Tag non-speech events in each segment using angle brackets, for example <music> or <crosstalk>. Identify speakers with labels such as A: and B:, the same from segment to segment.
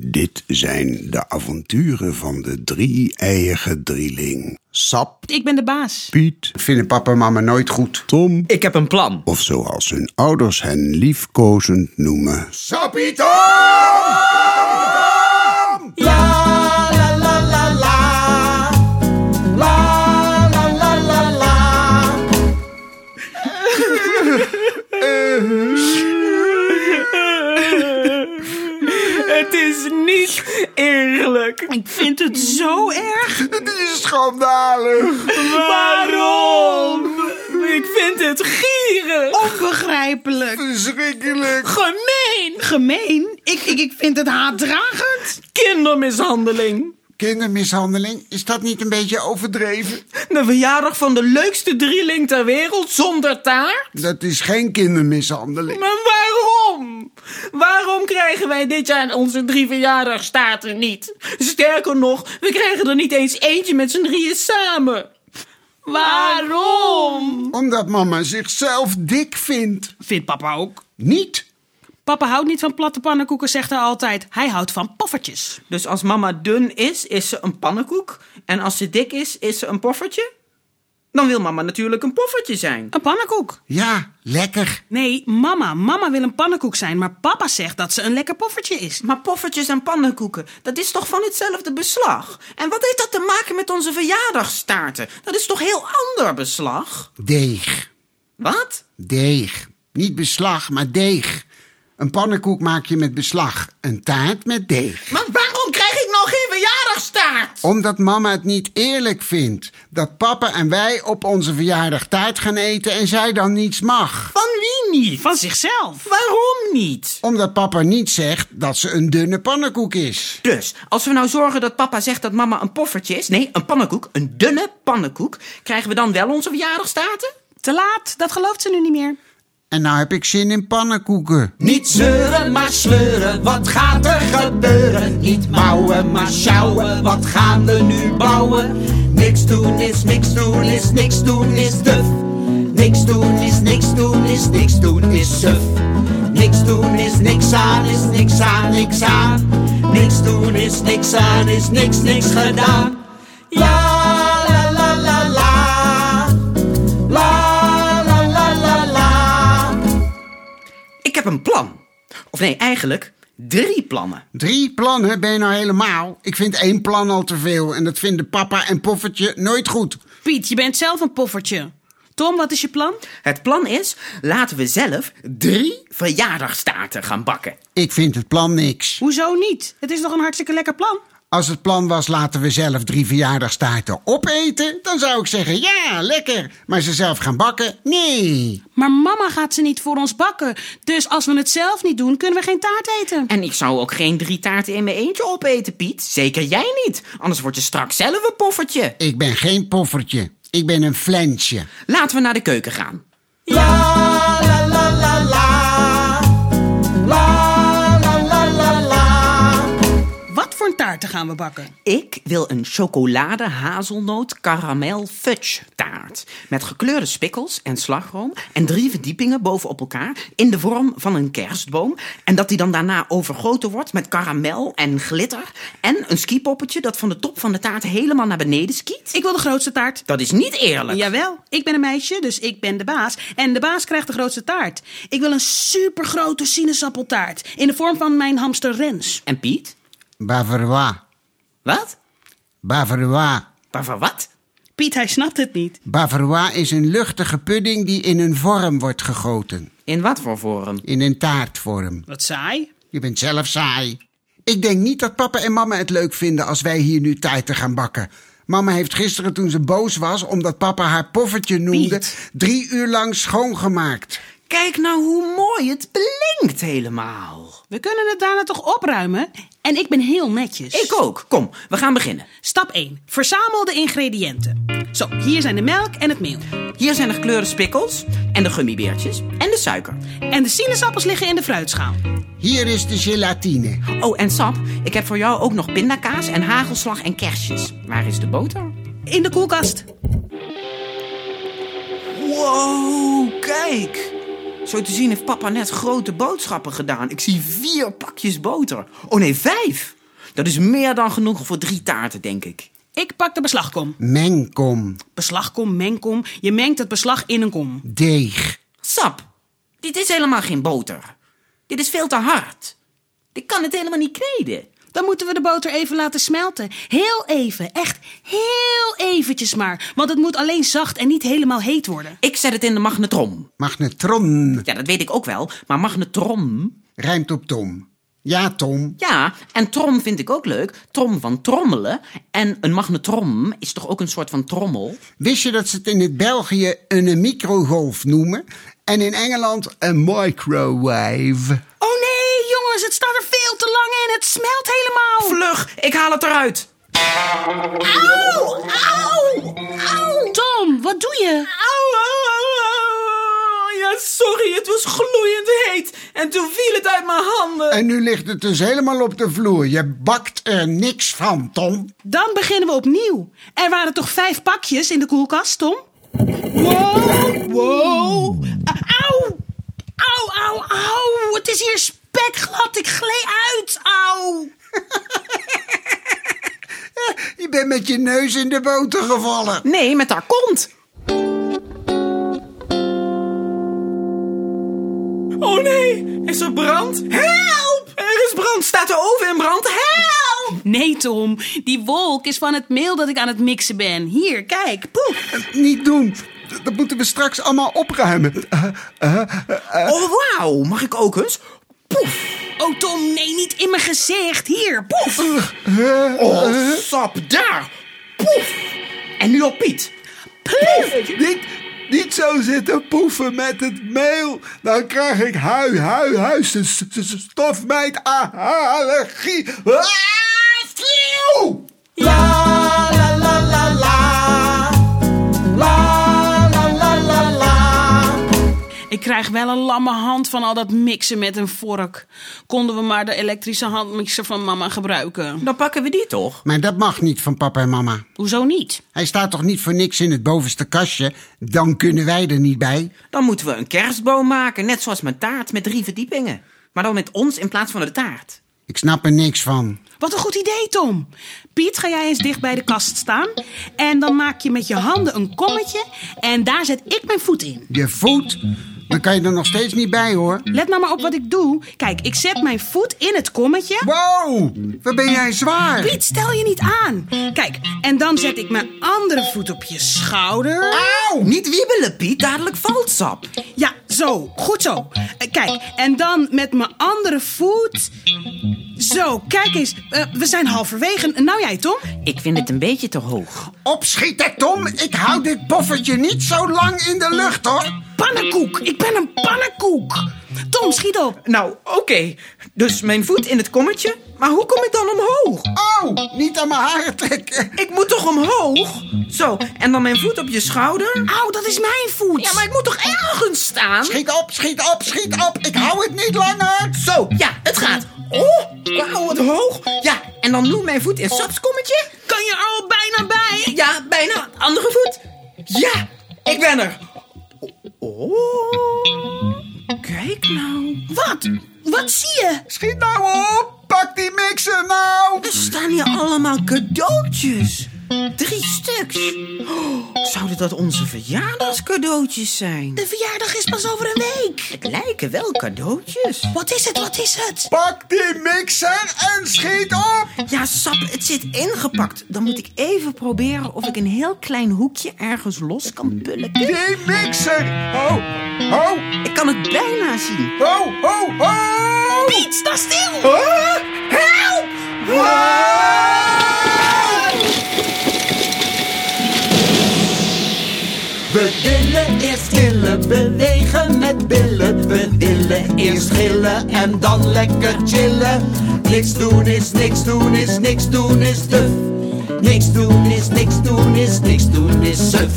A: Dit zijn de avonturen van de drie-eiige drieling. Sap,
B: Ik ben de baas.
A: Piet, vinden papa en mama nooit goed. Tom,
C: Ik heb een plan.
A: of zoals hun ouders hen liefkozend noemen. Sapito!
C: Het is niet eerlijk.
B: Ik vind het zo erg.
A: Dit is schandalig!
C: Waarom? Ik vind het gierig.
B: Onbegrijpelijk.
A: Verschrikkelijk!
C: Gemeen.
B: Gemeen. Ik, ik, ik vind het haatdragend.
C: Kindermishandeling.
A: Kindermishandeling, is dat niet een beetje overdreven?
C: De verjaardag van de leukste drieling ter wereld zonder taart.
A: Dat is geen kindermishandeling.
C: Maar waarom? Waarom krijgen wij dit jaar onze drie verjaardagstaarten niet? Sterker nog, we krijgen er niet eens eentje met z'n drieën samen. Waarom?
A: Omdat mama zichzelf dik vindt.
B: Vindt papa ook.
A: Niet.
B: Papa houdt niet van platte pannenkoeken, zegt hij altijd. Hij houdt van poffertjes.
C: Dus als mama dun is, is ze een pannenkoek. En als ze dik is, is ze een poffertje. Dan wil mama natuurlijk een poffertje zijn.
B: Een pannenkoek.
A: Ja, lekker.
B: Nee, mama. Mama wil een pannenkoek zijn, maar papa zegt dat ze een lekker poffertje is.
C: Maar poffertjes en pannenkoeken, dat is toch van hetzelfde beslag? En wat heeft dat te maken met onze verjaardagstaarten? Dat is toch heel ander beslag?
A: Deeg.
C: Wat?
A: Deeg. Niet beslag, maar deeg. Een pannenkoek maak je met beslag. Een taart met deeg.
C: Maar waarom krijg ik nou geen verjaardagstaart?
A: Omdat mama het niet eerlijk vindt dat papa en wij op onze verjaardag taart gaan eten en zij dan niets mag.
C: Van wie niet?
B: Van zichzelf.
C: Waarom niet?
A: Omdat papa niet zegt dat ze een dunne pannenkoek is.
C: Dus, als we nou zorgen dat papa zegt dat mama een poffertje is... nee, een pannenkoek, een dunne pannenkoek... krijgen we dan wel onze verjaardagstaarten?
B: Te laat. Dat gelooft ze nu niet meer.
A: En nou heb ik zin in pannenkoeken.
D: Niet zeuren, maar sleuren, wat gaat er gebeuren? Niet mouwen, maar sjouwen, wat gaan we nu bouwen? Niks doen is niks doen is niks doen is duf. Niks doen is niks doen is niks doen is suf. Niks doen is niks aan is niks aan niks aan. Niks doen is niks aan is niks niks gedaan. Ja, la la la la. La la la la la.
C: Ik heb een plan. Of nee, eigenlijk drie plannen.
A: Drie plannen ben je nou helemaal. Ik vind één plan al te veel en dat vinden papa en poffertje nooit goed.
B: Piet, je bent zelf een poffertje. Tom, wat is je plan?
C: Het plan is, laten we zelf drie verjaardagstaarten gaan bakken.
A: Ik vind het plan niks.
B: Hoezo niet? Het is nog een hartstikke lekker plan.
A: Als het plan was laten we zelf drie verjaardagstaarten opeten, dan zou ik zeggen ja, lekker. Maar ze zelf gaan bakken? Nee.
B: Maar mama gaat ze niet voor ons bakken. Dus als we het zelf niet doen, kunnen we geen taart eten.
C: En ik zou ook geen drie taarten in mijn eentje opeten, Piet. Zeker jij niet. Anders word je straks zelf een poffertje.
A: Ik ben geen poffertje. Ik ben een flensje.
C: Laten we naar de keuken gaan.
D: La la la la la. La la la la la.
B: Wat voor een taarten gaan we bakken?
C: Ik wil een chocolade hazelnoot karamel fudge taart. Met gekleurde spikkels en slagroom en drie verdiepingen bovenop elkaar in de vorm van een kerstboom. En dat die dan daarna overgoten wordt met karamel en glitter. En een skipoppetje dat van de top van de taart helemaal naar beneden skiet.
B: Ik wil de grootste taart.
C: Dat is niet eerlijk.
B: Jawel, ik ben een meisje, dus ik ben de baas. En de baas krijgt de grootste taart. Ik wil een supergrote sinaasappeltaart. In de vorm van mijn hamster Rens.
C: En Piet?
A: Bavarois.
C: Wat?
A: Bavarois.
C: Waarvan wat?
B: Piet, hij snapt het niet.
A: Bavarois is een luchtige pudding die in een vorm wordt gegoten.
C: In wat voor vorm?
A: In een taartvorm.
B: Wat saai.
A: Je bent zelf saai. Ik denk niet dat papa en mama het leuk vinden als wij hier nu taarten gaan bakken. Mama heeft gisteren toen ze boos was omdat papa haar poffertje noemde,
B: Piet.
A: drie uur lang schoongemaakt.
C: Kijk nou hoe mooi het blinkt helemaal.
B: We kunnen het daarna toch opruimen? En ik ben heel netjes.
C: Ik ook. Kom, we gaan beginnen.
B: Stap 1. Verzamel de ingrediënten. Zo, hier zijn de melk en het meel.
C: Hier zijn de gekleurde spikkels en de gummibeertjes en de suiker.
B: En de sinaasappels liggen in de fruitschaal.
A: Hier is de gelatine.
C: Oh, en sap, ik heb voor jou ook nog pindakaas en hagelslag en kerstjes. Waar is de boter?
B: In de koelkast.
C: Wow, kijk! Zo te zien heeft papa net grote boodschappen gedaan. Ik zie vier pakjes boter. Oh nee, vijf! Dat is meer dan genoeg voor drie taarten, denk ik.
B: Ik pak de beslagkom.
A: Mengkom.
B: Beslagkom, mengkom. Je mengt het beslag in een kom.
A: Deeg.
C: Sap, dit is helemaal geen boter. Dit is veel te hard. Ik kan het helemaal niet kneden.
B: Dan moeten we de boter even laten smelten. Heel even, echt heel eventjes maar. Want het moet alleen zacht en niet helemaal heet worden.
C: Ik zet het in de magnetron.
A: Magnetron.
C: Ja, dat weet ik ook wel. Maar magnetron?
A: Rijmt op Tom. Ja, Tom.
C: Ja, en trom vind ik ook leuk. Trom van trommelen. En een magnetron is toch ook een soort van trommel?
A: Wist je dat ze het in het België een microgolf noemen? En in Engeland een microwave.
B: Oh nee, jongens, het staat er veel te lang in. Het smelt
C: Oh.
B: helemaal.
C: Vlug, ik haal het eruit.
B: Auw, auw, auw. Tom, wat doe je?
C: Au, au, au, au. Ja, sorry, het was gloeiend heet. En toen viel het uit mijn handen.
A: En nu ligt het dus helemaal op de vloer. Je bakt er niks van, Tom.
B: Dan beginnen we opnieuw. Er waren toch vijf pakjes in de koelkast, Tom? Wow, wow. Auw, auw, auw, auw. Het is hier spekglad. Ik gleed uit. Auw.
A: Je bent met je neus in de boter gevallen.
C: Nee, met haar kont. Oh nee, is er brand? Help! Er is brand, staat de oven in brand? Help!
B: Nee, Tom. Die wolk is van het meel dat ik aan het mixen ben. Hier, kijk. Poef.
A: Niet doen. Dat moeten we straks allemaal opruimen. Eh, eh,
C: Oh wauw, mag ik ook eens? Poef!
B: Oh, Tom, nee, niet in mijn gezicht. Hier, poef.
C: Oh, sap, daar! Poef! En nu op Piet.
B: Poef.
A: Niet, niet zo zitten poeven met het meel. Dan krijg ik hui, hui, huis, stofmeid, a- allergie. Ah, schieuw!
D: La la la la la. La la la la la.
B: Ik krijg wel een lamme hand van al dat mixen met een vork. Konden we maar de elektrische handmixer van mama gebruiken.
C: Dan pakken we die toch?
A: Maar dat mag niet van papa en mama.
B: Hoezo niet?
A: Hij staat toch niet voor niks in het bovenste kastje? Dan kunnen wij er niet bij.
C: Dan moeten we een kerstboom maken, net zoals mijn taart met drie verdiepingen. Maar dan met ons in plaats van de taart.
A: Ik snap er niks van.
B: Wat een goed idee, Tom. Piet, ga jij eens dicht bij de kast staan. En dan maak je met je handen een kommetje. En daar zet ik mijn voet in.
A: Je voet, dan kan je er nog steeds niet bij hoor.
B: Let nou maar op wat ik doe. Kijk, ik zet mijn voet in het kommetje.
A: Wow, wat ben jij zwaar?
B: Piet, stel je niet aan. Kijk, en dan zet ik mijn andere voet op je schouder.
C: Auw! Niet wiebelen, Piet, dadelijk valt sap.
B: Ja, zo. Goed zo. Eh, Kijk, en dan met mijn andere voet. Zo, kijk eens. Eh, we zijn halverwege. Nou jij, Tom?
C: Ik vind het een beetje te hoog.
A: Opschieten Tom, ik hou dit poffertje niet zo lang in de lucht hoor.
B: Pannenkoek. Ik ben een pannenkoek. Tom, schiet op.
C: Nou, oké. Dus mijn voet in het kommetje. Maar hoe kom ik dan omhoog?
A: Oh, niet aan mijn haren trekken.
C: Ik moet toch omhoog? Zo, en dan mijn voet op je schouder?
B: Au, dat is mijn voet.
C: Ja, maar ik moet toch ergens staan?
A: Schiet op, schiet op, schiet op. Ik hou het niet langer.
C: Zo, ja, het gaat. Oh, wauw, wat hoog. Ja, en dan nu mijn voet in sapskommetje.
B: Kan je er al bijna bij?
C: Ja, bijna. Andere voet. Ja, ik ben er. Oh, kijk nou.
B: Wat? Wat zie je?
A: Schiet nou op. Pak die mixer nou.
C: Er staan hier allemaal cadeautjes. Drie stuks. Oh, zouden dat onze verjaardagscadeautjes zijn?
B: De verjaardag is pas over een week.
C: Het lijken wel cadeautjes.
B: Wat is het? Wat is het?
A: Pak die mixer en schiet op.
C: Ja, sap, het zit ingepakt. Dan moet ik even proberen of ik een heel klein hoekje ergens los kan pullen.
A: Die mixer. Ho, ho,
C: Ik kan het bijna zien.
A: ho, ho, ho.
B: Piet, sta stil.
A: Ah, help!
D: We willen eerst gillen, bewegen met billen. We willen eerst gillen en dan lekker chillen. Niks doen is niks doen is niks doen is duf. Niks doen is niks doen is niks doen is suf.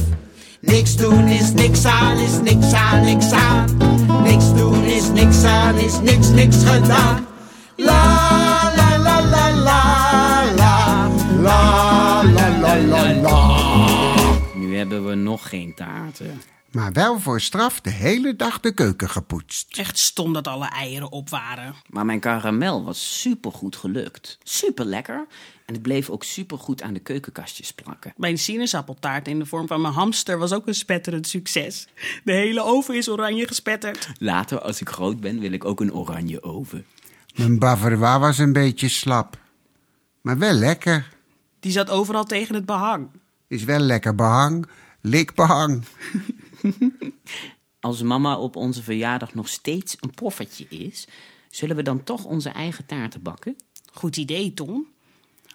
D: Niks doen is niks aan is niks aan niks aan. Niks doen is niks aan is niks niks gedaan. La la la la la la la la la la la.
C: Nu hebben hebben we nog geen taarten.
A: Maar wel voor straf de hele dag de keuken gepoetst.
B: Echt stom dat alle eieren op waren.
C: Maar mijn karamel was supergoed gelukt. Super lekker. En het bleef ook supergoed aan de keukenkastjes plakken.
B: Mijn sinaasappeltaart in de vorm van mijn hamster was ook een spetterend succes. De hele oven is oranje gespetterd.
C: Later, als ik groot ben, wil ik ook een oranje oven.
A: Mijn bavarois was een beetje slap. Maar wel lekker.
B: Die zat overal tegen het behang.
A: Is wel lekker behang. Likbehang.
C: Als mama op onze verjaardag nog steeds een poffertje is, zullen we dan toch onze eigen taarten bakken?
B: Goed idee, Tom.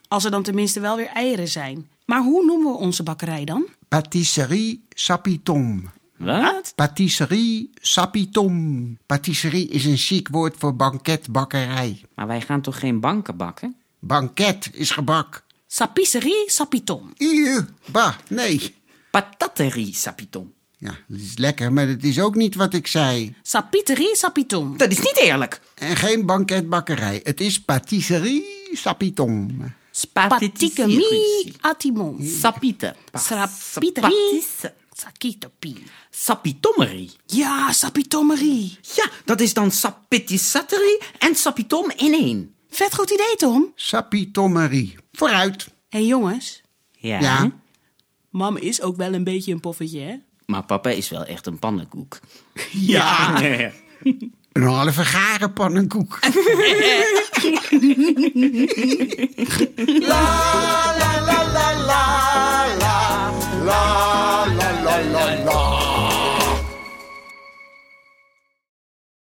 B: Als er dan tenminste wel weer eieren zijn. Maar hoe noemen we onze bakkerij dan?
A: Patisserie Sapitom.
C: Wat?
A: Patisserie Sapitom. Patisserie is een chic woord voor banketbakkerij.
C: Maar wij gaan toch geen banken bakken?
A: Banket is gebak.
B: Sapisserie Sapiton.
A: Eeuw, bah, nee.
C: Pataterie, sapiton.
A: Ja, dat is lekker, maar dat is ook niet wat ik zei.
B: Sapiterie Sapiton.
C: Dat is niet eerlijk.
A: En geen banketbakkerij. Het is patisserie Sapitom.
B: Patikemie Atimon.
C: Sapite.
B: Sapiterie Sakitopie.
C: Sapitommerie.
B: Ja, Sapitomerie.
C: Ja, dat is dan sapitisaterie en sapitom in één.
B: Vet goed idee, Tom.
A: Sapitommerie. Vooruit.
B: Hé hey, jongens,
C: Ja.
A: Ja.
B: mam is ook wel een beetje een poffetje, hè?
C: Maar papa is wel echt een pannenkoek. Ah. <laughs>
A: Een halve garen pannenkoek.
E: La